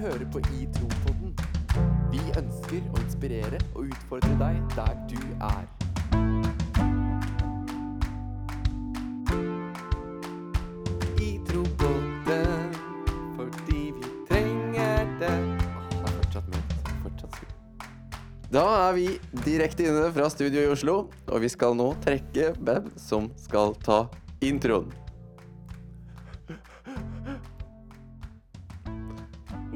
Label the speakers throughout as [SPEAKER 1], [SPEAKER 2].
[SPEAKER 1] hører på I Tro-podden. Vi ønsker å inspirere og utfordre deg der du er. I Tro-podden, fordi vi trenger det. Åh, det er fortsatt mørkt. Fortsatt skummelt. Da er vi direkte inne fra studio i Oslo, og vi skal nå trekke hvem som skal ta introen.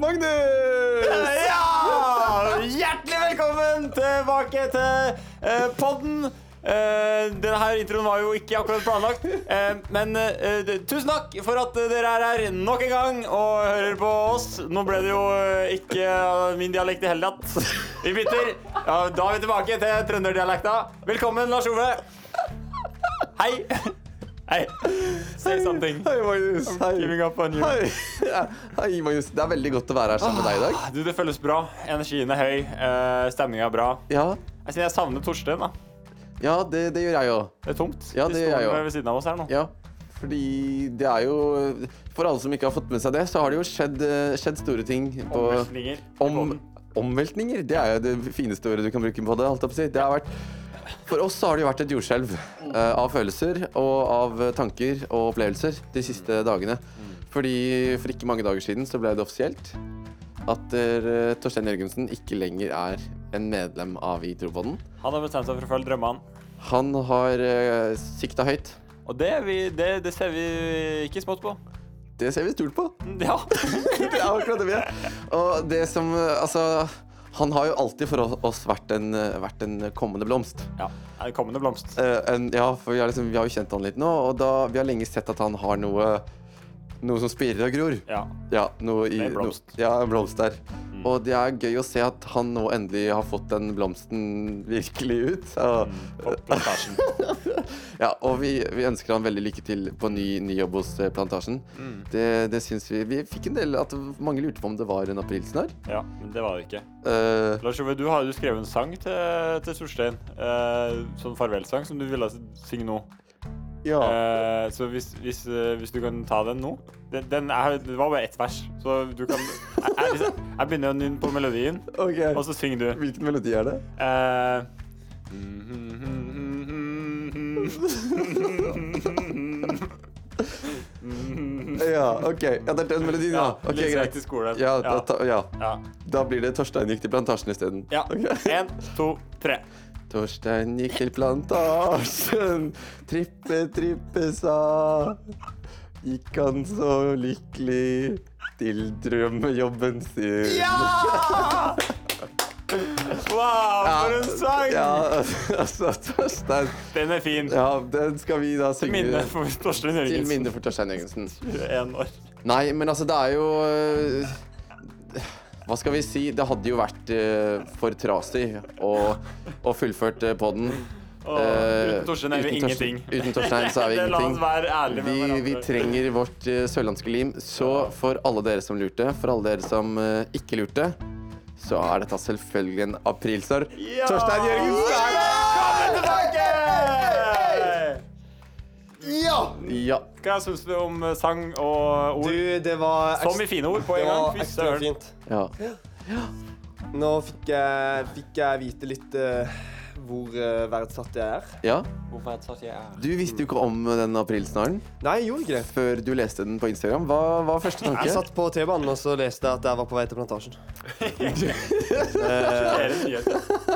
[SPEAKER 1] Magnus!
[SPEAKER 2] Ja! Hjertelig velkommen tilbake til eh, podden. Eh, denne her introen var jo ikke akkurat planlagt, eh, men eh, d- tusen takk for at dere er her nok en gang og hører på oss. Nå ble det jo eh, ikke eh, min dialekt i hele tatt. Vi bytter. Ja, da er vi tilbake til trønderdialekta. Velkommen, Lars Ove. Hei. Hei. Say something.
[SPEAKER 1] Hei, Magnus. Hei.
[SPEAKER 2] Giving up on you.
[SPEAKER 1] Hei. Ja, Hei, Magnus. Det er veldig godt å være her sammen med deg i dag.
[SPEAKER 2] Ah, Du, det føles bra. Energien er høy. Uh, Stemninga er bra.
[SPEAKER 1] Ja,
[SPEAKER 2] Jeg sier jeg savner Torstein. da
[SPEAKER 1] ja det, det gjør jeg jo.
[SPEAKER 2] Det er tomt.
[SPEAKER 1] Ja,
[SPEAKER 2] De
[SPEAKER 1] det
[SPEAKER 2] står
[SPEAKER 1] gjør jeg også.
[SPEAKER 2] ved siden av oss her nå.
[SPEAKER 1] Ja, fordi det er jo For alle som ikke har fått med seg det, så har det jo skjedd, eh, skjedd store ting på
[SPEAKER 2] Omveltninger.
[SPEAKER 1] om, Omveltninger. Det er jo det fineste ordet du kan bruke på det. Holdt jeg på å si. det har vært, for oss så har det jo vært et jordskjelv eh, av følelser og av eh, tanker og opplevelser de siste dagene. Fordi For ikke mange dager siden så ble det offisielt at eh, Torstein Jørgensen ikke lenger er en medlem av Idrobånden.
[SPEAKER 2] Han har bestemt seg for å følge drømmene.
[SPEAKER 1] Han har uh, sikta høyt.
[SPEAKER 2] Og det, er vi, det, det ser vi ikke smått på.
[SPEAKER 1] Det ser vi stort på.
[SPEAKER 2] Mm, Ja.
[SPEAKER 1] det er akkurat det vi er. Og det som eh, Altså, han har jo alltid for oss vært en, eh, vært en kommende blomst.
[SPEAKER 2] ja. Er det kommende blomst?
[SPEAKER 1] Eh, en, ja, for vi har, liksom, vi har jo kjent han litt nå, og da, vi har lenge sett at han har noe Noe som spirer og gror.
[SPEAKER 2] Ja.
[SPEAKER 1] Ja, noe i
[SPEAKER 2] Det er en blomst. Mm.
[SPEAKER 1] No, ja, en blomst der. Og det er gøy å se at han nå endelig har fått den blomsten virkelig ut. Og,
[SPEAKER 2] På plantasjen.
[SPEAKER 1] ja, og vi, vi ønsker han veldig lykke til på ny, ny jobb hos eh, Plantasjen.
[SPEAKER 2] Mm.
[SPEAKER 1] Det, det syns vi. Vi fikk en del at mange lurte på om det var en aprilsnarr.
[SPEAKER 2] Ja, men det var det ikke.
[SPEAKER 1] Eh,
[SPEAKER 2] Lars Ove, du har jo skrevet en sang til, til Torstein. Eh, sånn farvelsang som du ville synge nå.
[SPEAKER 1] ja.
[SPEAKER 2] Eh, så hvis, hvis, eh, hvis du kan ta den nå den, den er, Det var bare ett vers, så du kan Jeg, jeg, jeg begynner den på melodien, og
[SPEAKER 1] OK.
[SPEAKER 2] så synger du.
[SPEAKER 1] Hvilken melodi er det?
[SPEAKER 2] Eh,
[SPEAKER 1] Ja, OK. Ja, det er den melodien, ja.
[SPEAKER 2] Mm. ja,
[SPEAKER 1] Ok,
[SPEAKER 2] litt greit
[SPEAKER 1] greit.
[SPEAKER 2] i skolen.
[SPEAKER 1] Ja, da, ta, ja.
[SPEAKER 2] ja.
[SPEAKER 1] Da blir det Torstein gikk til plantasjen isteden.
[SPEAKER 2] ja.
[SPEAKER 1] Ok.
[SPEAKER 2] En, to, tre.
[SPEAKER 1] Torstein gikk til plantasjen, trippe, trippe sa. Gikk han så lykkelig til drømmejobben sin.
[SPEAKER 2] Ja! Wow, for en sang!
[SPEAKER 1] Ja, altså, Torstein
[SPEAKER 2] Den er fin.
[SPEAKER 1] Ja, den skal vi da
[SPEAKER 2] Til minne
[SPEAKER 1] synge
[SPEAKER 2] for Torstein
[SPEAKER 1] til
[SPEAKER 2] Jørgensen.
[SPEAKER 1] minne for Torstein Jørgensen.
[SPEAKER 2] 21 år.
[SPEAKER 1] Nei, men altså, det er jo øh, Hva skal vi si? Det hadde jo vært øh, for trasig å, å fullført øh, podden.
[SPEAKER 2] Og
[SPEAKER 1] Eh,
[SPEAKER 2] uten Torstein er vi
[SPEAKER 1] uten Torstein-
[SPEAKER 2] ingenting.
[SPEAKER 1] uten Torstein så er vi
[SPEAKER 2] Det La oss
[SPEAKER 1] ingenting.
[SPEAKER 2] være ærlige med
[SPEAKER 1] Vi, vi
[SPEAKER 2] hverandre.
[SPEAKER 1] trenger vårt eh, sørlandske lim. Så for alle dere som lurte, for alle dere som eh, ikke lurte, så er dette selvfølgelig en aprilsnarr.
[SPEAKER 2] Ja!
[SPEAKER 1] Torstein Jørgensen er
[SPEAKER 2] Velkommen tilbake!
[SPEAKER 3] Ja!
[SPEAKER 1] Ja.
[SPEAKER 2] Hva syns du om eh, sang og
[SPEAKER 3] Du,
[SPEAKER 2] ord?
[SPEAKER 3] det var
[SPEAKER 2] Som i fine ord på
[SPEAKER 3] det
[SPEAKER 2] en gang.
[SPEAKER 3] var
[SPEAKER 2] Fy
[SPEAKER 3] ekstra
[SPEAKER 2] søren.
[SPEAKER 3] fint.
[SPEAKER 1] ja.
[SPEAKER 3] Nå fikk jeg, fikk jeg vite litt eh, hvor eh, verdsatt jeg er.
[SPEAKER 1] ja.
[SPEAKER 2] Hvorfor er det sånn at jeg er
[SPEAKER 1] Du visste jo ikke om den aprilsnarren
[SPEAKER 3] Nei, jeg gjorde ikke det.
[SPEAKER 1] før du leste den på Instagram. Hva var første tanke?
[SPEAKER 3] Jeg satt på T-banen og så leste jeg at jeg var på vei til plantasjen.
[SPEAKER 2] Det er en nyhet.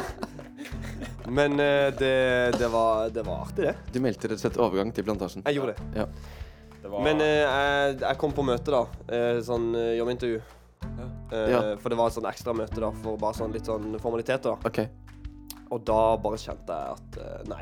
[SPEAKER 3] Men eh, det, det, var, det var artig, det.
[SPEAKER 1] Du meldte rett og slett overgang til Plantasjen.
[SPEAKER 3] Jeg gjorde det.
[SPEAKER 2] Det var-
[SPEAKER 3] Men eh, jeg, jeg kom på møte, da. eh, sånn eh, jobbintervju. Eh,
[SPEAKER 1] Ja.
[SPEAKER 3] For det var et sånn ekstra møte da, for bare sånn litt sånn formaliteter. da.
[SPEAKER 1] OK.
[SPEAKER 3] Og da bare kjente jeg at eh, nei.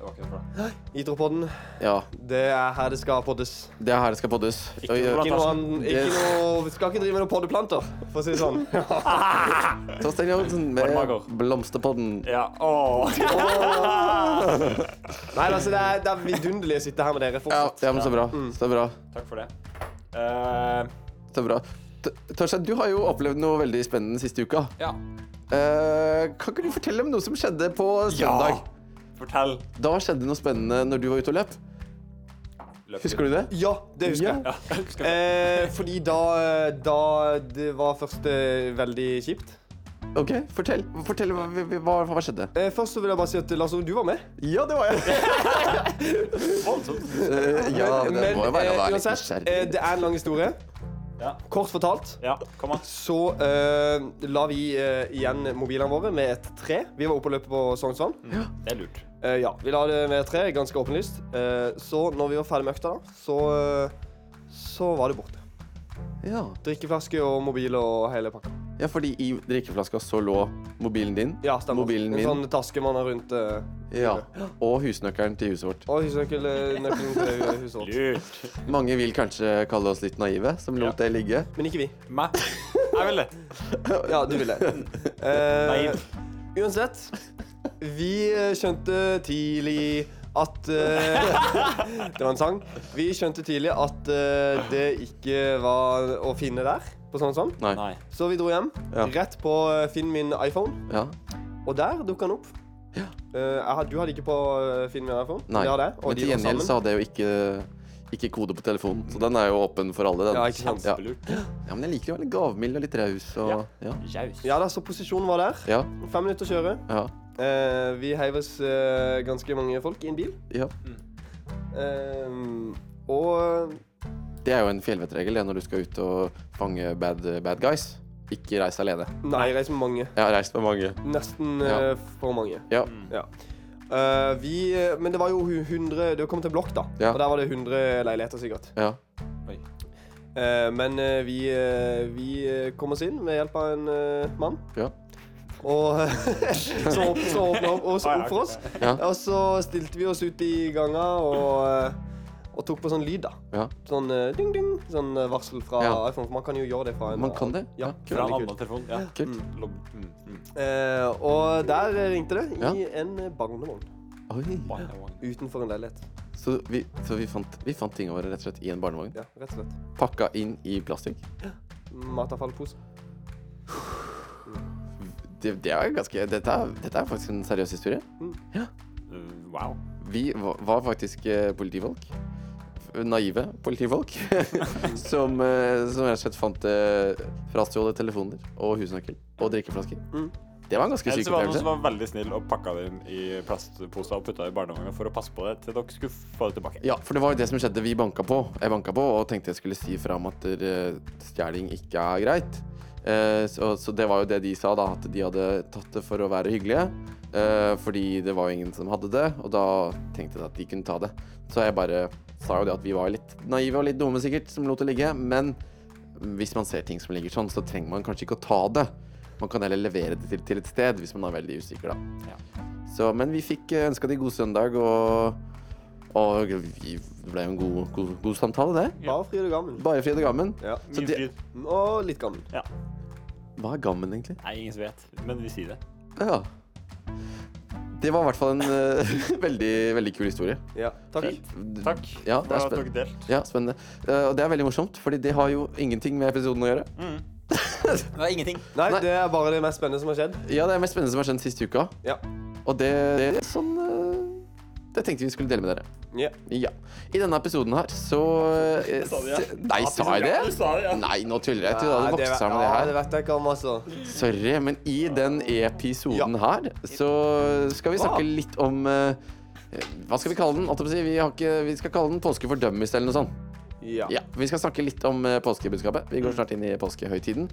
[SPEAKER 2] Det var ikke noe for deg.
[SPEAKER 3] Idropoden,
[SPEAKER 1] Ja.
[SPEAKER 3] det er her det skal poddes.
[SPEAKER 1] Det er her det skal poddes.
[SPEAKER 2] Ikke noe
[SPEAKER 1] Oi,
[SPEAKER 3] Ikke noe, an-
[SPEAKER 1] Det-
[SPEAKER 3] ikke noe, vi skal ikke drive med noen poddeplanter, for å si det sånn.
[SPEAKER 1] oi, Torstein Jørgensen
[SPEAKER 2] Barnemager.
[SPEAKER 1] med Blomsterpodden.
[SPEAKER 2] Ja. Åh.
[SPEAKER 3] Nei, altså, det er, det er vidunderlig å sitte her med dere
[SPEAKER 1] Ja,
[SPEAKER 3] fortsatt.
[SPEAKER 1] ja, men så bra. Så bra.
[SPEAKER 2] Takk for det. Eh,
[SPEAKER 1] Så bra. T- Torstein, du har jo opplevd noe veldig spennende siste uka.
[SPEAKER 2] ja.
[SPEAKER 1] Eh, kan ikke du fortelle om noe som skjedde på søndag?
[SPEAKER 2] Fortell.
[SPEAKER 1] Da skjedde noe spennende når du var ute og løp.
[SPEAKER 2] løp.
[SPEAKER 1] Husker du det?
[SPEAKER 3] Ja, det husker
[SPEAKER 1] Ja.
[SPEAKER 3] jeg.
[SPEAKER 2] Ja, jeg husker det.
[SPEAKER 3] Eh, fordi da, da Det var først eh, veldig kjipt.
[SPEAKER 1] OK, fortell. Fortell hva, hva, hva skjedde.
[SPEAKER 3] Eh, først så vil jeg bare si at Lars Ove, du var med.
[SPEAKER 1] Ja, det var jeg. Eh, ja, det
[SPEAKER 3] Men,
[SPEAKER 1] må jo være å være
[SPEAKER 3] eh,
[SPEAKER 1] litt
[SPEAKER 3] uansett, eh,
[SPEAKER 1] nysgjerrig.
[SPEAKER 3] det er en lang historie.
[SPEAKER 2] Ja.
[SPEAKER 3] Kort fortalt
[SPEAKER 2] Ja, kom an.
[SPEAKER 3] så eh, la vi eh, igjen mobilene våre med et tre. Vi var oppe og løpe på Sognsvann.
[SPEAKER 2] Det er lurt.
[SPEAKER 3] Eh, ja, vi la det med et tre, ganske åpenlyst. Eh, så når vi var ferdig med økta, da, så, eh, så var det borte.
[SPEAKER 1] Ja.
[SPEAKER 3] Drikkeflaske og mobil og hele pakka.
[SPEAKER 1] ja, fordi i drikkeflaska så lå mobilen din.
[SPEAKER 3] Ja, stemmer.
[SPEAKER 1] Mobilen
[SPEAKER 3] En
[SPEAKER 1] min.
[SPEAKER 3] sånn taske man har rundt eh,
[SPEAKER 1] Ja. Og husnøkkelen til huset vårt.
[SPEAKER 3] Og husnøkkelen nøkkelen til huset vårt.
[SPEAKER 2] Lurt.
[SPEAKER 1] Mange vil kanskje kalle oss litt naive, som lot det ligge.
[SPEAKER 3] Men ikke vi.
[SPEAKER 2] Meg? Jeg vil det.
[SPEAKER 3] Ja, du ville. Eh,
[SPEAKER 2] Naiv.
[SPEAKER 3] uansett, vi eh, skjønte tidlig at eh, Det var en sang. Vi skjønte tidlig at eh, det ikke var å finne der, på sånn sånn.
[SPEAKER 1] Nei.
[SPEAKER 2] Nei.
[SPEAKER 3] Så vi dro hjem,
[SPEAKER 1] Ja.
[SPEAKER 3] rett på eh, Finn min iPhone,
[SPEAKER 1] Ja.
[SPEAKER 3] og der dukka han opp.
[SPEAKER 1] Ja.
[SPEAKER 3] Eh, jeg had- du hadde ikke på eh, Finn min iPhone?
[SPEAKER 1] Nei.
[SPEAKER 3] Det hadde jeg, og
[SPEAKER 1] Men
[SPEAKER 3] de
[SPEAKER 1] til
[SPEAKER 3] var
[SPEAKER 1] gjengjeld så
[SPEAKER 3] sammen.
[SPEAKER 1] hadde jeg jo ikke, ikke kode på telefonen, så den er jo åpen for alle. Den.
[SPEAKER 3] Ja, ikke sant.
[SPEAKER 1] Ja.
[SPEAKER 2] Kjempelurt.
[SPEAKER 1] Ja, men jeg liker jo å være litt gavmild og litt raus og ja.
[SPEAKER 2] Jaus.
[SPEAKER 3] Ja da, så posisjonen var der.
[SPEAKER 1] Ja.
[SPEAKER 3] Fem minutter å kjøre.
[SPEAKER 1] ja.
[SPEAKER 3] Eh, vi heiv oss eh, ganske mange folk i en bil.
[SPEAKER 1] ja.
[SPEAKER 3] Ehm, og
[SPEAKER 1] Det er jo en fjellvettregel det, når du skal ut og fange bad, bad guys. Ikke reis alene.
[SPEAKER 3] Nei, jeg reiser med mange.
[SPEAKER 1] Jeg har reist med mange.
[SPEAKER 3] Nesten
[SPEAKER 1] Ja.
[SPEAKER 3] eh, for mange.
[SPEAKER 1] Ja.
[SPEAKER 3] Ja. Eh, vi, eh, men det var jo hu- 100 Det kom til blokk, da.
[SPEAKER 1] Ja.
[SPEAKER 3] Og der var det 100 leiligheter, sikkert.
[SPEAKER 1] ja.
[SPEAKER 3] Eh, men eh, vi, eh, vi eh, kom oss inn ved hjelp av en eh, mann.
[SPEAKER 1] Ja.
[SPEAKER 3] Og så åp- så åpna opp, oss
[SPEAKER 2] Ah, ja,
[SPEAKER 3] opp for oss.
[SPEAKER 1] Ja.
[SPEAKER 3] Og så stilte vi oss ut i ganga og, eh, og tok på sånn lyd, da.
[SPEAKER 1] ja.
[SPEAKER 3] Sånn eh, ding, ding. Sånn eh, varsel fra
[SPEAKER 1] Ja.
[SPEAKER 3] iPhone. For man kan jo gjøre det fra en
[SPEAKER 1] Man kan det?
[SPEAKER 3] Ja.
[SPEAKER 1] Ja,
[SPEAKER 2] Fra en
[SPEAKER 3] veldig kult.
[SPEAKER 2] annen telefon. Ja.
[SPEAKER 1] Kult.
[SPEAKER 2] Lob- Mm. Mm.
[SPEAKER 3] Eh, og der ringte det i
[SPEAKER 1] Ja.
[SPEAKER 3] en barnevogn Mm.
[SPEAKER 1] Oi.
[SPEAKER 2] Wow, wow.
[SPEAKER 3] utenfor en leilighet.
[SPEAKER 1] Så, vi, så vi, fant, vi fant tingene våre rett og slett i en barnevogn.
[SPEAKER 3] Ja, rett og slett.
[SPEAKER 1] Pakka inn i plastikk.
[SPEAKER 3] Matavfallpose.
[SPEAKER 1] Det, det er ganske, dette, er, dette er faktisk en seriøs historie.
[SPEAKER 2] Uh, wow.
[SPEAKER 1] Vi va- var faktisk eh, politifolk. F- Naive politifolk. som, eh, som rett og slett fant eh, frastjålet telefoner og husnøkkel og drikkeflasker.
[SPEAKER 3] Mm.
[SPEAKER 1] Det var en ganske
[SPEAKER 2] Eller
[SPEAKER 1] syk
[SPEAKER 2] så var det noen som
[SPEAKER 1] opplevelse.
[SPEAKER 2] var veldig snill og pakka det inn i plastposer og putta det i barnehagen for å passe på det til dere skulle få det tilbake.
[SPEAKER 1] Ja, for det var jo det som skjedde. Vi banka på. Jeg banka på og tenkte jeg skulle si fra om at eh, stjeling ikke er greit. Eh, så, så det var jo det de sa, da. At de hadde tatt det for å være hyggelige. eh, fordi det var jo ingen som hadde det. Og da tenkte jeg at de kunne ta det. Så jeg bare sa jo det at vi var litt naive og litt dumme sikkert, som lot det ligge. Men hvis man ser ting som ligger sånn, så trenger man kanskje ikke å ta det. Man kan heller levere det til, til et sted, hvis man er veldig usikker, da.
[SPEAKER 2] Ja.
[SPEAKER 1] Så, men vi fikk ønska de god søndag, og, og vi, det ble jo en god, god, god samtale, det.
[SPEAKER 2] Ja.
[SPEAKER 3] Bare fryd og gammen.
[SPEAKER 1] Bare fryd og gammen.
[SPEAKER 3] Ja.
[SPEAKER 1] Så
[SPEAKER 2] Mye
[SPEAKER 1] det-
[SPEAKER 2] fryd.
[SPEAKER 3] Og litt gammen.
[SPEAKER 1] Hva er gammen, egentlig?
[SPEAKER 2] Nei, ingen som vet, men vi sier det.
[SPEAKER 1] Ja. Det var i hvert fall en eh, veldig, veldig kul historie.
[SPEAKER 3] Ja. Takk.
[SPEAKER 2] Fint. Takk
[SPEAKER 1] Ja,
[SPEAKER 2] for
[SPEAKER 1] det er
[SPEAKER 2] at
[SPEAKER 1] spennende.
[SPEAKER 2] dere delte.
[SPEAKER 1] Ja, spennende. Eh, og det er veldig morsomt, fordi det har jo ingenting med episoden å gjøre.
[SPEAKER 2] Det var ingenting.
[SPEAKER 3] Nei,
[SPEAKER 1] Nei.
[SPEAKER 3] det er bare det mest spennende som har skjedd.
[SPEAKER 2] Mm.
[SPEAKER 1] Ja, det er mest spennende som har skjedd siste uka,
[SPEAKER 3] Ja.
[SPEAKER 1] og det, det er sånn eh, Det tenkte vi skulle dele med dere.
[SPEAKER 3] Ja.
[SPEAKER 1] Ja. I denne episoden her så eh,
[SPEAKER 2] Sa du det?
[SPEAKER 1] se- Nei, sa jeg
[SPEAKER 2] Ja, du
[SPEAKER 1] det?
[SPEAKER 2] sa det, ja.
[SPEAKER 1] Nei, nå tuller jeg. Jeg trodde jeg
[SPEAKER 3] Nei,
[SPEAKER 1] hadde
[SPEAKER 3] det
[SPEAKER 1] vokst
[SPEAKER 3] vet-
[SPEAKER 1] sammen med
[SPEAKER 3] ja,
[SPEAKER 1] det
[SPEAKER 3] det
[SPEAKER 1] her.
[SPEAKER 3] vet jeg ikke om, altså.
[SPEAKER 1] Sorry, men i den episoden her så skal vi snakke
[SPEAKER 3] Hva?
[SPEAKER 1] litt om eh, Hva skal vi kalle den? Holdt jeg på å si, Vi, har ikke, vi skal kalle den Påske for dummies eller noe sånt.
[SPEAKER 3] Ja.
[SPEAKER 1] Ja, Vi skal snakke litt om eh, påskebudskapet. Vi går snart inn i påskehøytiden.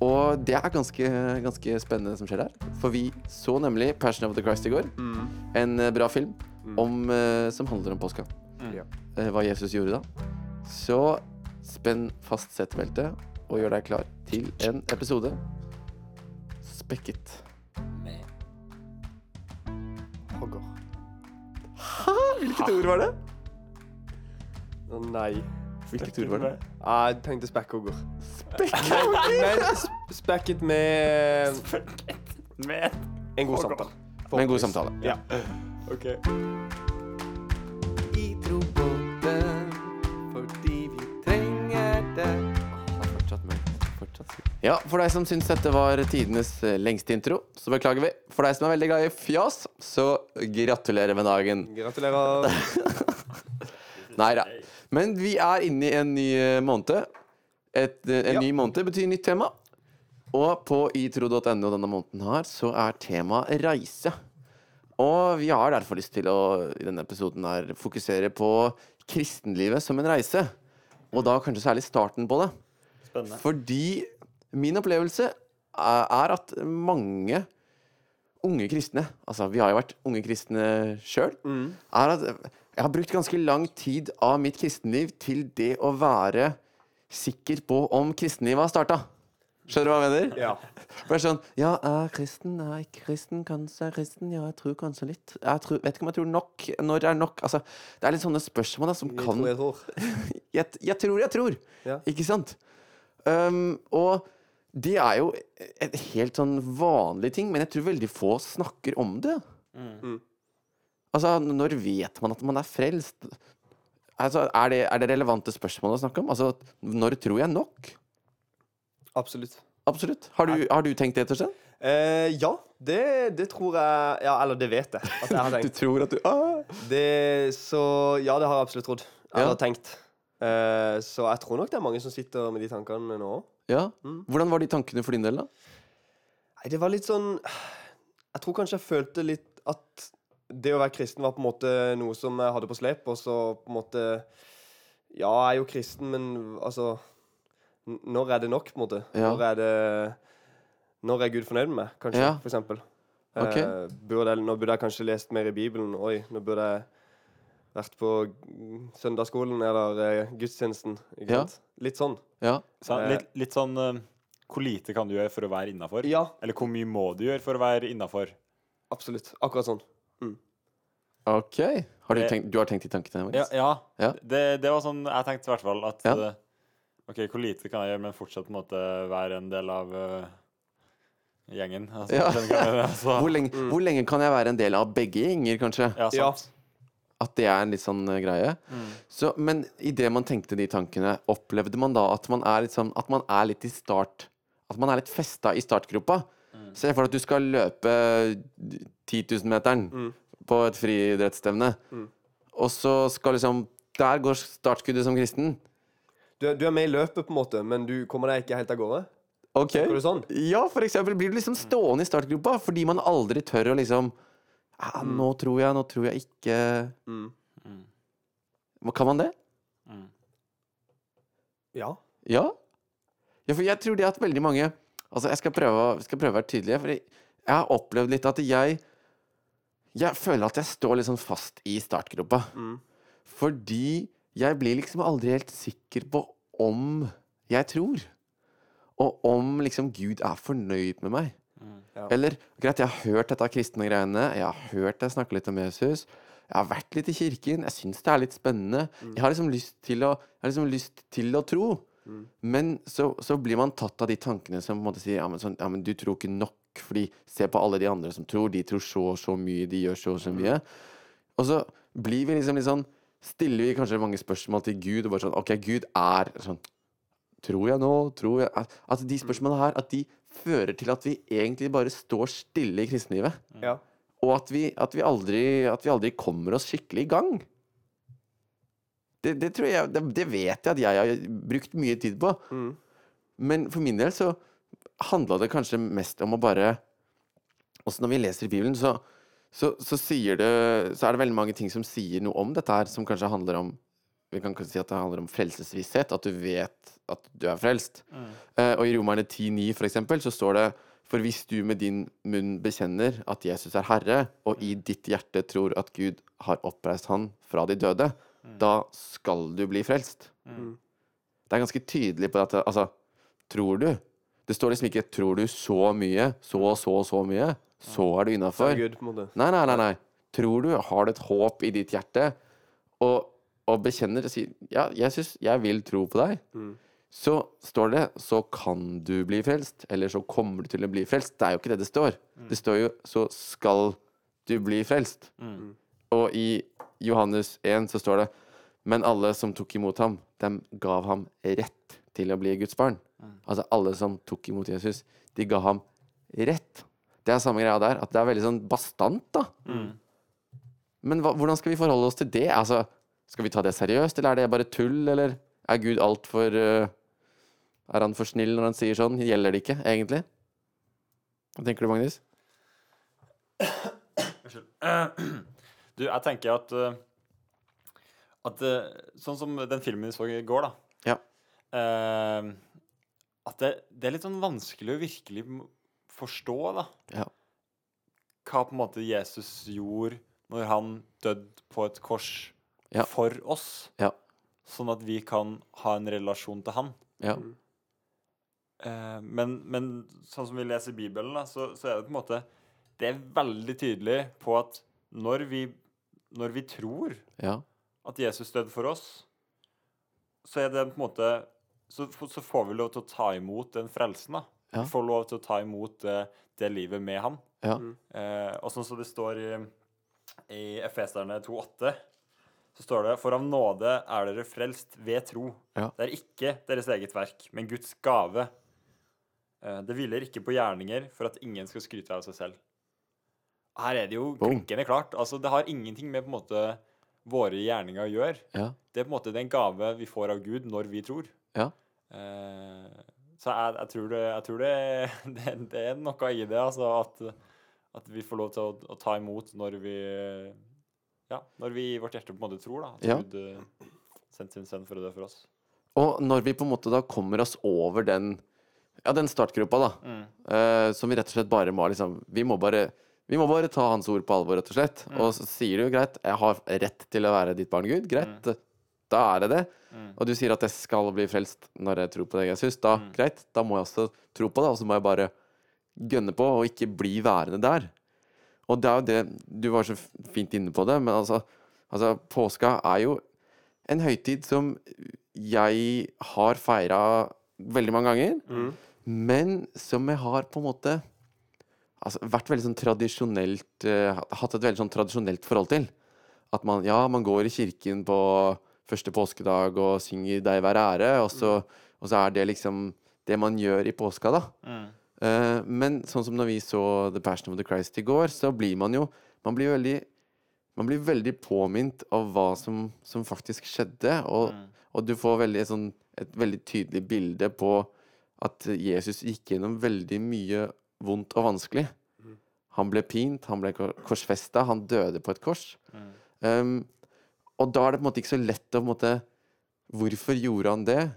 [SPEAKER 1] Og det er ganske, ganske spennende som skjer der. For vi så nemlig 'Passion of the Christ' i går. En eh, bra film om, eh, som handler om påska.
[SPEAKER 3] Mm. Ja.
[SPEAKER 1] Eh, hva Jesus gjorde da. Så spenn fast setebeltet og gjør deg klar til en episode spekket.
[SPEAKER 3] Hogger.
[SPEAKER 1] Hvilket ord var det?
[SPEAKER 3] Å, Nei. Ah,
[SPEAKER 1] Hvilket ord var det?
[SPEAKER 3] Jeg tenkte spekkhogger.
[SPEAKER 1] Spekket.
[SPEAKER 3] Men sp- spekket med
[SPEAKER 2] Med.
[SPEAKER 3] en god samtale.
[SPEAKER 1] Med en god samtale.
[SPEAKER 3] Ja.
[SPEAKER 2] Ok.
[SPEAKER 4] Vi tror på det fordi vi trenger det.
[SPEAKER 1] Fortsatt mørkt. Fortsatt mørkt. Ja, for deg som syns dette var tidenes eh, lengste intro, så beklager vi. For deg som er veldig glad i fjas, så gratulerer med dagen.
[SPEAKER 3] Gratulerer.
[SPEAKER 1] Nei da. Men vi er inne i en ny eh, måned. Et, eh, en
[SPEAKER 3] Ja.
[SPEAKER 1] ny måned betyr nytt tema. Og på itro.no denne måneden her, så er temaet reise. Og vi har derfor lyst til å i denne episoden her fokusere på kristenlivet som en reise. Og da kanskje særlig starten på det.
[SPEAKER 2] Spennende.
[SPEAKER 1] Fordi min opplevelse er er at mange unge kristne Altså, vi har jo vært unge kristne sjøl.
[SPEAKER 3] Mm.
[SPEAKER 1] Er at jeg har brukt ganske lang tid av mitt kristenliv til det å være sikker på om kristenlivet har starta. Skjønner du hva jeg mener?
[SPEAKER 3] Ja.
[SPEAKER 1] Bare sånn Ja, jeg er kristen, jeg er ikke kristen, kanskje jeg er kristen, ja, jeg tror kanskje litt. Jeg tror, vet ikke om jeg tror nok. Når er nok? Altså, det er litt sånne spørsmål da, som
[SPEAKER 3] Jeg
[SPEAKER 1] kan
[SPEAKER 3] tror jeg tror.
[SPEAKER 1] jeg, jeg tror, jeg tror.
[SPEAKER 3] Ja.
[SPEAKER 1] Ikke sant? Um, og det er jo en helt sånn vanlig ting, men jeg tror veldig få snakker om det.
[SPEAKER 3] Mm.
[SPEAKER 1] Altså, når vet man at man er frelst? Altså, er, det, er det relevante spørsmål å snakke om? Altså, når tror jeg nok?
[SPEAKER 3] Absolutt.
[SPEAKER 1] Absolutt. Har du, har du tenkt det, Torstein?
[SPEAKER 3] Eh, ja, det, det tror jeg Ja, eller det vet jeg. At jeg har tenkt.
[SPEAKER 1] Du tror at du ah!
[SPEAKER 3] Det, så ja, det har jeg absolutt trodd. Eller
[SPEAKER 1] Ja.
[SPEAKER 3] tenkt. Eh, så jeg tror nok det er mange som sitter med de tankene nå.
[SPEAKER 1] Ja.
[SPEAKER 3] Mm.
[SPEAKER 1] Hvordan var de tankene for din del, da?
[SPEAKER 3] Nei, det var litt sånn Jeg tror kanskje jeg følte litt at det å være kristen var på en måte noe som jeg hadde på slep, og så på en måte Ja, jeg er jo kristen, men altså n- Når er det nok, på en måte?
[SPEAKER 1] Ja.
[SPEAKER 3] Når er det Når er Gud fornøyd med meg, kanskje,
[SPEAKER 1] Ja.
[SPEAKER 3] for eksempel?
[SPEAKER 1] Ok.
[SPEAKER 3] Eh, burde jeg, nå burde jeg kanskje lest mer i Bibelen. Oi, nå burde jeg vært på mm, søndagsskolen eller eh, gudstjenesten. Ikke
[SPEAKER 1] Ja.
[SPEAKER 3] sant? Litt sånn.
[SPEAKER 1] Ja.
[SPEAKER 2] Så, litt, litt sånn eh, Hvor lite kan du gjøre for å være innafor?
[SPEAKER 3] Ja,
[SPEAKER 2] Eller hvor mye må du gjøre for å være innafor?
[SPEAKER 3] absolutt. Akkurat sånn.
[SPEAKER 1] OK. Har du,
[SPEAKER 2] Det-
[SPEAKER 1] tenkt, du har tenkt de tankene?
[SPEAKER 2] Ja,
[SPEAKER 1] Magnus?
[SPEAKER 2] ja.
[SPEAKER 1] Ja.
[SPEAKER 2] Det, det var sånn jeg tenkte i hvert fall at
[SPEAKER 1] Ja.
[SPEAKER 2] eh, OK, hvor lite kan jeg gjøre, men fortsatt på en måte være en del av eh, gjengen? Altså,
[SPEAKER 1] Ja.
[SPEAKER 2] skjønner du hva jeg mener? altså,
[SPEAKER 1] Hvor, lenge,
[SPEAKER 3] Mm.
[SPEAKER 1] hvor lenge kan jeg være en del av begge gjenger, kanskje?
[SPEAKER 2] ja,
[SPEAKER 3] Ja.
[SPEAKER 2] sant.
[SPEAKER 1] At det er en litt sånn eh, greie.
[SPEAKER 3] Mm.
[SPEAKER 1] Så, men idet man tenkte de tankene, opplevde man da at man er litt sånn At man er litt i start At man er litt festa i startgropa.
[SPEAKER 3] Mm.
[SPEAKER 1] Se for deg at du skal løpe 10 000-meteren
[SPEAKER 3] Mm.
[SPEAKER 1] på et friidrettsstevne. Og så skal liksom Der går startskuddet som kristen.
[SPEAKER 3] Du, er- du er med i løpet, på en måte, men du kommer deg ikke helt av gårde?
[SPEAKER 1] Ok.
[SPEAKER 3] du sånn?
[SPEAKER 1] Ja, for eksempel blir du liksom stående i startgropa fordi man aldri tør å liksom ah, 'Nå tror jeg, nå tror jeg ikke
[SPEAKER 3] Mm.
[SPEAKER 1] Kan man det?
[SPEAKER 3] Ja.
[SPEAKER 1] Ja. ja, for jeg tror det at veldig mange Altså, jeg skal prøve, å- skal prøve å være tydelig, for jeg jeg har opplevd litt at jeg Jeg føler at jeg står litt sånn fast i startgropa.
[SPEAKER 3] Mm.
[SPEAKER 1] Fordi jeg blir liksom aldri helt sikker på om jeg tror. Og om liksom Gud er fornøyd med meg.
[SPEAKER 3] Ja.
[SPEAKER 1] Eller greit, jeg har hørt dette kristne greiene, jeg har hørt deg snakke litt om Jesus. Jeg har vært litt i kirken, jeg syns det er litt spennende. Jeg har liksom lyst til å, jeg har liksom lyst til å tro. Men så, så blir man tatt av de tankene som på en måte sier ja men, sånn, ja, men du tror ikke nok, fordi se på alle de andre som tror. De tror så og så mye, de gjør så og så mye. Og så blir vi liksom litt sånn Stiller vi kanskje mange spørsmål til Gud, og bare sånn OK, Gud er sånn Tror jeg nå? Tror jeg At at de spørsmålene her At de fører til at vi egentlig bare står stille i kristenlivet.
[SPEAKER 3] ja.
[SPEAKER 1] Og at vi, at vi, aldri, at vi aldri kommer oss skikkelig i gang. Det, det tror jeg det, det vet jeg at jeg har brukt mye tid på.
[SPEAKER 3] Mm.
[SPEAKER 1] Men for min del så handla det kanskje mest om å bare Også når vi leser Bibelen, så, så, så sier det Så er det veldig mange ting som sier noe om dette her, som kanskje handler om vi kan kanskje si at det handler om frelsesvisshet, at du vet at du er frelst. Eh, og i Romerne 10,9 for eksempel, så står det For hvis du med din munn bekjenner at Jesus er Herre, og i ditt hjerte tror at Gud har oppreist han fra de døde, da skal du bli frelst. Det er ganske tydelig på dette. Altså, tror du? Det står liksom ikke 'tror du så mye', så og så og så mye, så er du
[SPEAKER 3] For
[SPEAKER 1] innafor.
[SPEAKER 3] Gud, på en måte.
[SPEAKER 1] Nei, nei, nei, nei. Tror du har du et håp i ditt hjerte, og, og bekjenner og sier 'Ja, Jesus, jeg vil tro på deg', så står det 'så kan du bli frelst', eller 'så kommer du til å bli frelst'. Det er jo ikke det det står. Det står jo 'så skal du bli frelst'. Og i Johannes 1 så står det 'men alle som tok imot ham, dem gav ham rett til å bli Guds barn'. Altså alle som tok imot Jesus, de ga ham rett. Det er samme greia der, at det er veldig sånn bastant, da. Men hva, hvordan skal vi forholde oss til det? Altså, Skal vi ta det seriøst, eller er det bare tull, eller er Gud altfor uh, Er han for snill når han sier sånn? Gjelder det ikke, egentlig? Hva tenker du, Magnus?
[SPEAKER 2] Eh, Du, jeg tenker at eh, At eh, sånn som den filmen vi så i går, da
[SPEAKER 1] Ja.
[SPEAKER 2] eh, At det, det er litt sånn vanskelig å virkelig m- forstå, da.
[SPEAKER 1] Ja.
[SPEAKER 2] Hva på en måte Jesus gjorde når han døde på et kors
[SPEAKER 1] Ja.
[SPEAKER 2] for oss.
[SPEAKER 1] Ja.
[SPEAKER 2] Sånn at vi kan ha en relasjon til han.
[SPEAKER 1] Ja.
[SPEAKER 2] Eh, men, men sånn som vi leser i Bibelen, da, så, så er det på en måte Det er veldig tydelig på at når vi, når vi tror
[SPEAKER 1] ja.
[SPEAKER 2] at Jesus døde for oss, så er det på en måte Så, f- så får vi lov til å ta imot den frelsen, da.
[SPEAKER 1] Ja.
[SPEAKER 2] Vi får lov til å ta imot det, det livet med ham.
[SPEAKER 1] Ja.
[SPEAKER 2] Eh, og sånn som det står i, i Efeserne 2,8, så står det For av nåde er dere frelst ved tro.
[SPEAKER 1] Ja.
[SPEAKER 2] Det er ikke deres eget verk, men Guds gave. Eh, det hviler ikke på gjerninger for at ingen skal skryte av seg selv. Her er det jo
[SPEAKER 1] Boom.
[SPEAKER 2] klinkende klart. Altså, det har ingenting med på en måte våre gjerninger å gjøre.
[SPEAKER 1] ja.
[SPEAKER 2] Det er på en måte det er en gave vi får av Gud når vi tror.
[SPEAKER 1] Ja.
[SPEAKER 2] Eh, så jeg, jeg tror, det, jeg tror det, det, det er noe i det, altså, at, at vi får lov til å, å ta imot når vi Ja, når vi i vårt hjerte på en måte tror, da. At
[SPEAKER 1] Ja.
[SPEAKER 2] Gud eh, sendte sin sønn for å dø for oss.
[SPEAKER 1] Og når vi på en måte da kommer oss over den Ja, den startgropa, da, eh, som vi rett og slett bare må liksom Vi må bare vi må bare ta hans ord på alvor, rett og slett. Og så sier du jo greit, jeg har rett til å være ditt barn, Gud. Greit, da er det det. Og du sier at jeg skal bli frelst når jeg tror på deg, Jesus. Da, greit, da må jeg også tro på det, og så må jeg bare gønne på og ikke bli værende der. Og det er jo det Du var så f- fint inne på det, men altså, altså påska er jo en høytid som jeg har feira veldig mange ganger, men som jeg har på en måte altså, vært veldig sånn tradisjonelt eh, Hatt et veldig sånn tradisjonelt forhold til. At man, ja, man går i kirken på første påskedag og synger 'Deg være ære', og så, og så er det liksom det man gjør i påska, da. Eh, men sånn som når vi så 'The Passion of the Christ' i går, så blir man jo Man blir veldig man blir veldig påminnet av hva som, som faktisk skjedde, og, og du får veldig, et sånn, et veldig tydelig bilde på at Jesus gikk gjennom veldig mye vondt og vanskelig. Han ble pint, han ble korsfesta, han døde på et kors. Um, og da er det på en måte ikke så lett å på en måte Hvorfor gjorde han det?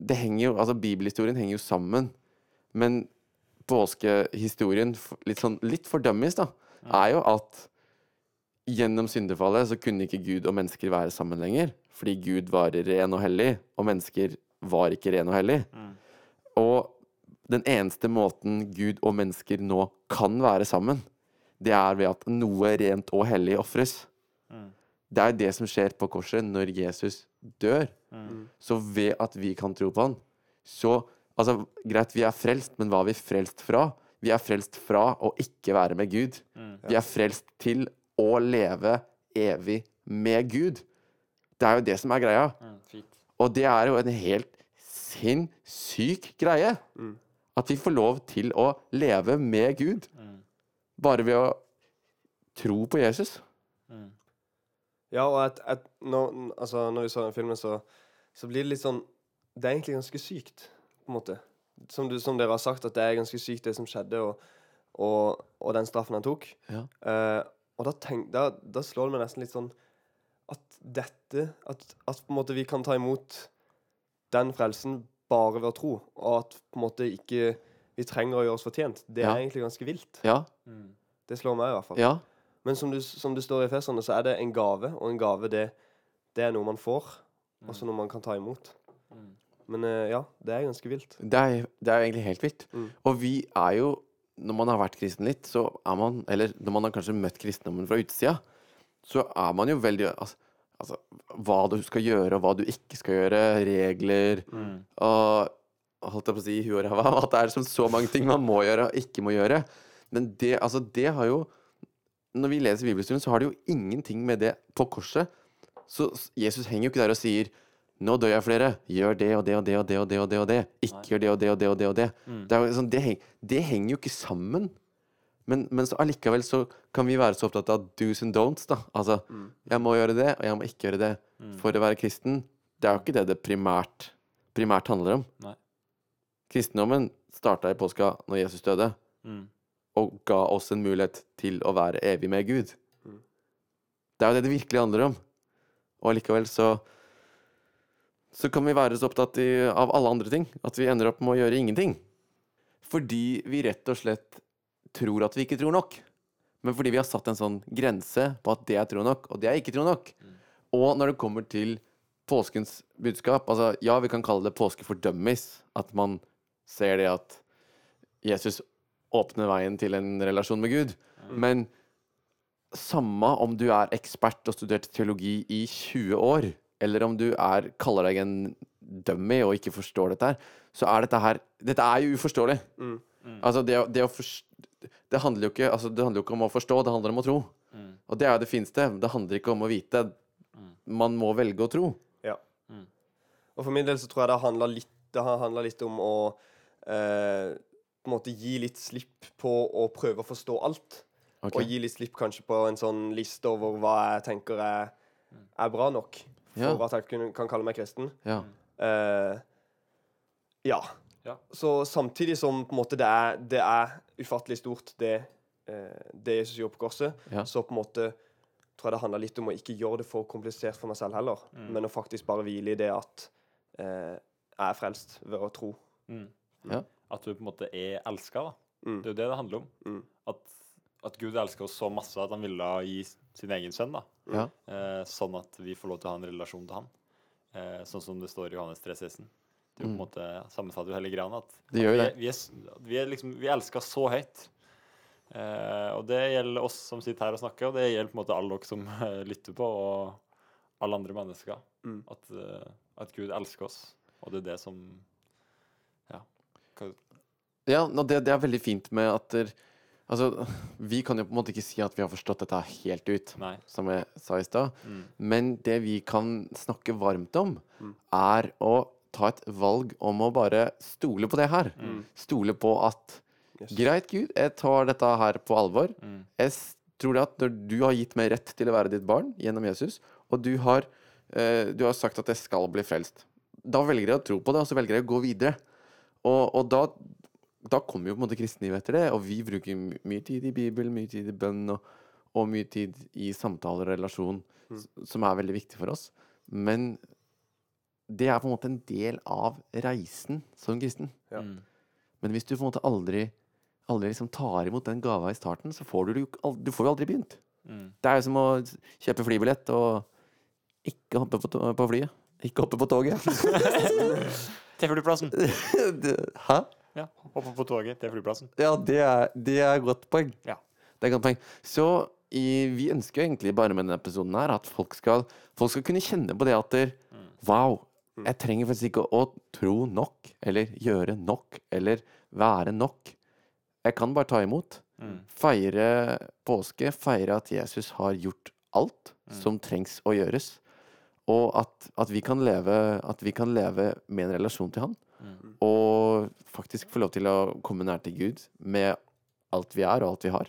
[SPEAKER 1] Det henger jo, altså Bibelhistorien henger jo sammen, men påskehistorien, f- litt sånn litt for dummies, da, er jo at gjennom syndefallet så kunne ikke Gud og mennesker være sammen lenger. Fordi Gud var ren og hellig, og mennesker var ikke ren og hellig. Og den eneste måten Gud og mennesker nå kan være sammen, det er ved at noe rent og hellig ofres. Det er det som skjer på korset når Jesus dør. Så ved at vi kan tro på han, så Altså, greit, vi er frelst, men hva er vi frelst fra? Vi er frelst fra å ikke være med Gud. Vi er frelst til å leve evig med Gud. Det er jo det som er greia.
[SPEAKER 2] Mm, Fint.
[SPEAKER 1] Og det er jo en helt sinnssyk greie. At vi får lov til å leve med Gud.
[SPEAKER 2] Mm,
[SPEAKER 1] Bare ved å tro på Jesus.
[SPEAKER 2] mm,
[SPEAKER 3] Ja, og at, at når, altså, når vi så den filmen, så, så blir det litt sånn Det er egentlig ganske sykt, på en måte. Som, du, som dere har sagt, at det er ganske sykt, det som skjedde, og, og, og den straffen han tok.
[SPEAKER 1] Ja.
[SPEAKER 3] Eh, og da, tenk, da, da slår det meg nesten litt sånn at dette at, at på en måte vi kan ta imot den frelsen bare ved å tro, og at på en måte ikke vi trenger å gjøre oss fortjent, det
[SPEAKER 1] Ja.
[SPEAKER 3] er egentlig ganske vilt.
[SPEAKER 1] Ja.
[SPEAKER 2] mm,
[SPEAKER 3] Det slår meg i hvert fall.
[SPEAKER 1] Ja.
[SPEAKER 3] Men som, du, som det står i Efeserne, så er det en gave, og en gave det, det er noe man får, og så noe man kan ta imot. Men eh, ja, det er ganske vilt.
[SPEAKER 1] Det er, det er jo egentlig helt vilt. Og vi er jo Når man har vært kristen litt, så er man Eller når man har kanskje møtt kristendommen fra utsida, så er man jo veldig Altså, altså hva du skal gjøre, og hva du ikke skal gjøre, regler og Holdt jeg på å si huet og ræva, at det er som så mange ting man må gjøre og ikke må gjøre. Men det, altså, det har jo Når vi leser bibelstuen, så har det jo ingenting med det på korset. Så s- Jesus henger jo ikke der og sier nå dør jeg flere. Gjør det og det og det og det og det. og det og det Ikke gjør det og det og det og det. og Det Det, er jo sånn, det, heng, det henger jo ikke sammen. Men, men så allikevel så kan vi være så opptatt av do's and don'ts, da. Altså, jeg må gjøre det, og jeg må ikke gjøre det.
[SPEAKER 2] mm,
[SPEAKER 1] For å være kristen, det er jo ikke det det primært, primært handler om.
[SPEAKER 2] Nei.
[SPEAKER 1] Kristendommen starta i påska når Jesus døde,
[SPEAKER 2] Mm.
[SPEAKER 1] og ga oss en mulighet til å være evig med Gud. Det er jo det det virkelig handler om. Og allikevel så så kan vi være så opptatt i, av alle andre ting at vi ender opp med å gjøre ingenting. Fordi vi rett og slett tror at vi ikke tror nok. Men fordi vi har satt en sånn grense på at det er tro nok, og det er ikke tro nok. Og når det kommer til påskens budskap altså Ja, vi kan kalle det påske for dummies. At man ser det at Jesus åpner veien til en relasjon med Gud. Men samme om du er ekspert og studert teologi i 20 år, eller om du er, kaller deg en dummy og ikke forstår dette her, så er dette her Dette er jo uforståelig. Altså, det, å- det å forst- Det handler jo ikke, altså, det handler jo ikke om å forstå, det handler om å tro. Og det er jo det fineste. Det handler ikke om å vite. Man må velge å tro.
[SPEAKER 3] Ja. Og for min del så tror jeg det har handla litt, det har handlet litt om å eh, på en måte gi litt slipp på å prøve å forstå alt.
[SPEAKER 1] Ok.
[SPEAKER 3] Og gi litt slipp kanskje på en sånn liste over hva jeg tenker er, er bra nok for
[SPEAKER 1] Ja.
[SPEAKER 3] at jeg kunne, kan kalle meg kristen.
[SPEAKER 1] Ja.
[SPEAKER 3] Eh, ja.
[SPEAKER 2] Ja.
[SPEAKER 3] Så samtidig som på en måte det er, det er ufattelig stort, det, eh, det Jesus gjorde på korset,
[SPEAKER 1] Ja.
[SPEAKER 3] så på en måte tror jeg det handler litt om å ikke gjøre det for komplisert for meg selv heller,
[SPEAKER 2] Mm.
[SPEAKER 3] men å faktisk bare hvile i det at eh, jeg er frelst ved å tro.
[SPEAKER 2] At du på en måte er elska, da.
[SPEAKER 3] Mm.
[SPEAKER 2] Det er jo det det handler om.
[SPEAKER 3] Mm.
[SPEAKER 2] At, at Gud elsker oss så masse at han ville gi sin egen sønn, da.
[SPEAKER 1] Ja.
[SPEAKER 2] Eh, sånn at vi får lov til å ha en relasjon til han. Eh, sånn som det står i Johannes 3,16. Det er jo på en måte sammenfatter jo hele greia. At,
[SPEAKER 1] Mm. Det gjør
[SPEAKER 2] at
[SPEAKER 1] jo
[SPEAKER 2] vi,
[SPEAKER 1] det.
[SPEAKER 2] er- vi, er, s- vi er liksom Vi er elska så høyt. Eh, og det gjelder oss som sitter her og snakker, og det gjelder på en måte alle dere som eh, lytter på, og alle andre mennesker.
[SPEAKER 3] Mm.
[SPEAKER 2] At, eh, at Gud elsker oss, og det er det som Ja. Hva,
[SPEAKER 1] Ja, og det, det er veldig fint med at der, Altså, vi kan jo på en måte ikke si at vi har forstått dette helt ut,
[SPEAKER 2] nei.
[SPEAKER 1] som jeg sa i stad.
[SPEAKER 2] Mm.
[SPEAKER 1] Men det vi kan snakke varmt om, er å ta et valg om å bare stole på det her.
[SPEAKER 2] Mm.
[SPEAKER 1] Stole på at Greit, Gud, jeg tar dette her på alvor.
[SPEAKER 2] Mm.
[SPEAKER 1] Jeg s- tror det at når du har gitt meg rett til å være ditt barn gjennom Jesus, og du har, eh, du har sagt at jeg skal bli frelst, da velger jeg å tro på det, og så velger jeg å gå videre. Og, og da, da kommer jo på en måte kristenlivet etter det, og vi bruker my- mye tid i Bibelen, mye tid i bønn, og, og mye tid i samtaler og relasjon, s- som er veldig viktig for oss. Men det er på en måte en del av reisen som kristen.
[SPEAKER 3] Ja.
[SPEAKER 2] Mm.
[SPEAKER 1] Men hvis du på en måte aldri, aldri liksom tar imot den gava i starten, så får du, det jo ikke al- du får jo aldri begynt.
[SPEAKER 2] Mm.
[SPEAKER 1] Det er jo som å s- kjøpe flybillett og ikke hoppe på, to- på flyet. Ikke hoppe på toget.
[SPEAKER 2] Til flyplassen.
[SPEAKER 1] Det- Hæ?
[SPEAKER 2] Ja. Hoppe på toget til flyplassen.
[SPEAKER 1] Ja, det er, det er et godt poeng.
[SPEAKER 2] Ja.
[SPEAKER 1] Det er et godt poeng. Så i, vi ønsker jo egentlig bare med denne episoden her at folk skal, folk skal kunne kjenne på det at der, Wow, jeg trenger faktisk ikke å tro nok, eller gjøre nok, eller være nok. Jeg kan bare ta imot. Feire påske, feire at Jesus har gjort alt som trengs å gjøres. Og at, at, vi kan leve, at vi kan leve med en relasjon til han. Og faktisk få lov til å komme nær til Gud med alt vi er, og alt vi har.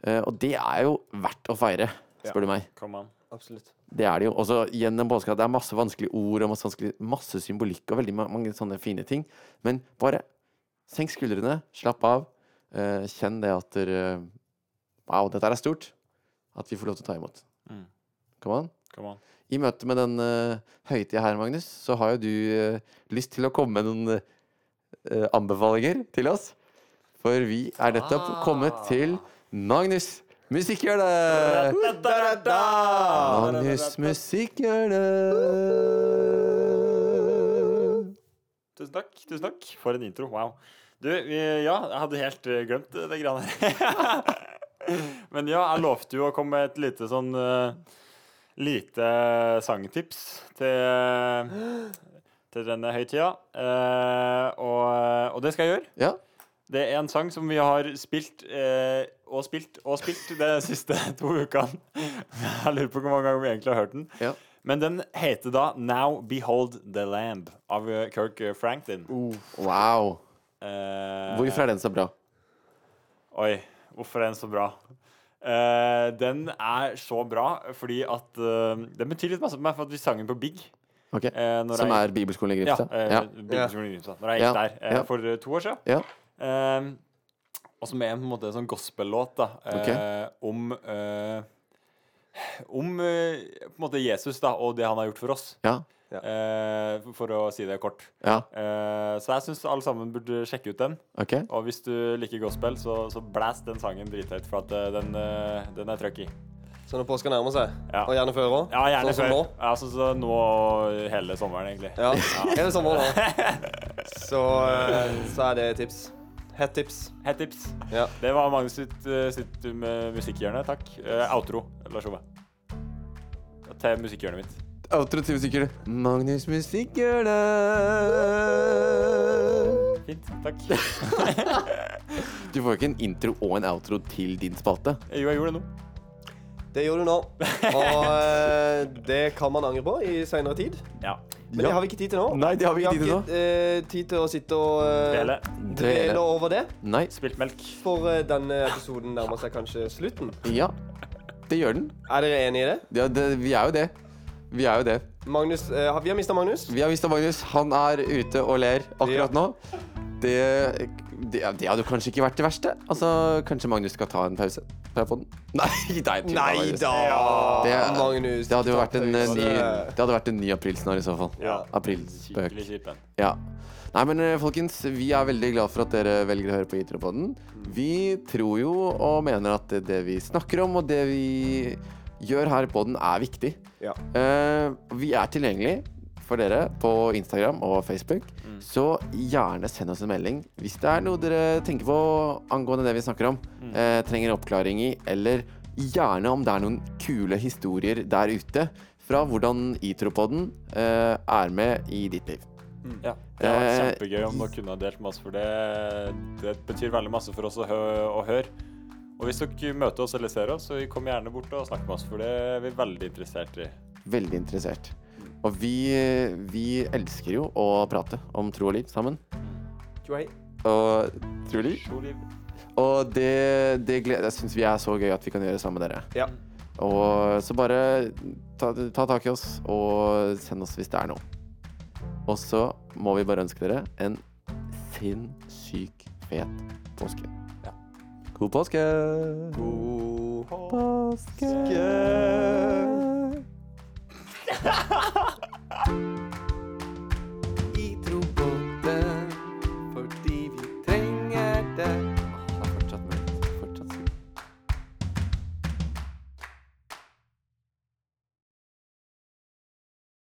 [SPEAKER 1] Eh, og det er jo verdt å feire, spør du meg.
[SPEAKER 2] Kom an.
[SPEAKER 3] Absolutt.
[SPEAKER 1] Det er det jo. Også gjennom påska. Det er masse vanskelige ord og masse, vanskelig- masse symbolikk og veldig ma- mange sånne fine ting. Men bare senk skuldrene, slapp av. eh, kjenn det at dere eh, Wow, dette er stort. At vi får lov til å ta imot.
[SPEAKER 2] Mm.
[SPEAKER 1] Kom an.
[SPEAKER 2] Kom an.
[SPEAKER 1] I møte med den uh, høytida her, Magnus, så har jo du eh, lyst til å komme med noen eh, anbefalinger til oss. For vi er nettopp
[SPEAKER 2] Ah.
[SPEAKER 1] kommet til Magnus Musikkhjørnet! Eh, Magnus Musikkhjørnet.
[SPEAKER 2] Tusen takk. tusen takk For en intro. Wow. Du, eh, ja, jeg hadde helt eh, glemt eh, det greiene her. Men ja, jeg lovte jo å komme med et lite sånn eh, Lite sangtips til, til denne høytida. Eh, og, og det skal jeg gjøre.
[SPEAKER 1] Ja.
[SPEAKER 2] Det er en sang som vi har spilt eh, og spilt og spilt de siste to ukene. Jeg lurer på hvor mange ganger vi egentlig har hørt den.
[SPEAKER 1] Ja.
[SPEAKER 2] Men den heter da Now Behold the Lamb av eh, Kirk Franklin.
[SPEAKER 1] Wow.
[SPEAKER 2] Eh,
[SPEAKER 1] Hvorfor er den så bra?
[SPEAKER 2] Oi. Hvorfor er den så bra? Eh, den er så bra fordi at eh, Den betyr litt masse for meg, for at vi sang den på Big.
[SPEAKER 1] Ok.
[SPEAKER 2] eh, når
[SPEAKER 1] Som
[SPEAKER 2] jeg-
[SPEAKER 1] er bibelskolen i
[SPEAKER 2] ja,
[SPEAKER 1] Grimstad?
[SPEAKER 2] eh,
[SPEAKER 1] Ja.
[SPEAKER 2] Bibelskolen i Grimstad. Når jeg
[SPEAKER 1] Ja.
[SPEAKER 2] gikk der eh,
[SPEAKER 1] Ja.
[SPEAKER 2] for eh, to år siden.
[SPEAKER 1] ja.
[SPEAKER 2] Eh, og som er på en måte en sånn gospel-låt da, eh, om eh, Om eh, på en måte Jesus da, og det han har gjort for oss,
[SPEAKER 1] Ja.
[SPEAKER 2] eh, for- for å si det kort.
[SPEAKER 1] Ja.
[SPEAKER 2] Eh, så jeg syns alle sammen burde sjekke ut den.
[SPEAKER 1] Ok.
[SPEAKER 2] Og hvis du liker gospel, så, så blæs den sangen drithøyt, for at eh, den, eh, den er trøkk i.
[SPEAKER 3] Så når påska nærmer seg,
[SPEAKER 2] Ja.
[SPEAKER 3] og gjerne før òg
[SPEAKER 2] Ja, gjerne
[SPEAKER 3] Sånn som
[SPEAKER 2] før.
[SPEAKER 3] nå?
[SPEAKER 2] Ja, sånn som nå og hele sommeren, egentlig.
[SPEAKER 3] Ja, hele sommeren nå. Så, eh, så er det et tips. Hett tips.
[SPEAKER 2] Hett tips.
[SPEAKER 3] Ja.
[SPEAKER 2] Det var Magnus sitt, eh, sitt med musikkhjørne. Takk. Eh, outro, Lars Ove. Til musikkhjørnet mitt.
[SPEAKER 1] Outro til musikkere. Magnus Musikkhjørne.
[SPEAKER 2] Fint. Takk.
[SPEAKER 1] Du får jo ikke en intro og en outro til din spalte.
[SPEAKER 2] Jo, jeg gjorde det nå.
[SPEAKER 3] Det gjør du nå. Og eh, det kan man angre på i seinere tid.
[SPEAKER 2] Ja.
[SPEAKER 3] Men det har vi ikke tid til nå.
[SPEAKER 1] Nei, det har vi
[SPEAKER 3] Vi
[SPEAKER 1] ikke
[SPEAKER 3] har
[SPEAKER 1] tid til nå.
[SPEAKER 3] ikke eh, tid til å sitte og eh,
[SPEAKER 2] Dele.
[SPEAKER 1] Dele.
[SPEAKER 3] dvele over det.
[SPEAKER 1] Nei.
[SPEAKER 2] Spilt melk.
[SPEAKER 3] For eh, denne episoden nærmer seg kanskje slutten.
[SPEAKER 1] Ja, det gjør den.
[SPEAKER 3] Er dere enig i det?
[SPEAKER 1] Ja, det, vi er jo det. Vi er jo det.
[SPEAKER 3] Magnus, eh, har- Vi har mista Magnus.
[SPEAKER 1] Vi har visst at Magnus han er ute og ler akkurat nå. Det, det, det hadde kanskje ikke vært det verste. Altså, Kanskje Magnus skal ta en pause fra podden? Nei, nei, jeg tuller, Magnus.
[SPEAKER 3] da!
[SPEAKER 1] Det-
[SPEAKER 3] Magnus.
[SPEAKER 1] Det hadde jo vært en eh, ny,
[SPEAKER 3] pause.
[SPEAKER 1] det hadde vært en ny aprilsnarr i så fall.
[SPEAKER 3] Ja.
[SPEAKER 1] Aprilspøk.
[SPEAKER 2] Skikkelig kjip en.
[SPEAKER 1] Ja. Nei, men eh, folkens, vi er veldig glad for at dere velger å høre på Gitropoden. Vi tror jo og mener at det- det vi snakker om, og det vi gjør her i poden, er viktig.
[SPEAKER 3] Ja.
[SPEAKER 1] Eh, vi er tilgjengelig for dere på Instagram og Facebook, så gjerne send oss en melding hvis det er noe dere tenker på angående det vi snakker om, eh, trenger oppklaring i, eller gjerne om det er noen kule historier der ute fra hvordan Itropoden eh, er med i ditt liv.
[SPEAKER 2] Ja. Det hadde vært
[SPEAKER 1] Eh,
[SPEAKER 2] kjempegøy om dere kunne ha delt med oss, for det, det betyr veldig masse for oss å, hø å høre. Og hvis dere møter oss eller ser oss, så kom gjerne bort og snakk med oss, for det er vi veldig interessert i.
[SPEAKER 1] veldig interessert. Og vi, vi elsker jo å prate om tro og liv sammen.
[SPEAKER 3] Joey.
[SPEAKER 1] Og tro og liv.
[SPEAKER 2] Sjoliv.
[SPEAKER 1] Og det, det gleder jeg syns vi er så gøy at vi kan gjøre sammen med dere.
[SPEAKER 3] Ja.
[SPEAKER 1] Og så bare ta, ta tak i oss og send oss hvis det er noe. Og så må vi bare ønske dere en sinnssyk fet påske. God påske! Oh.
[SPEAKER 3] God
[SPEAKER 1] Påske!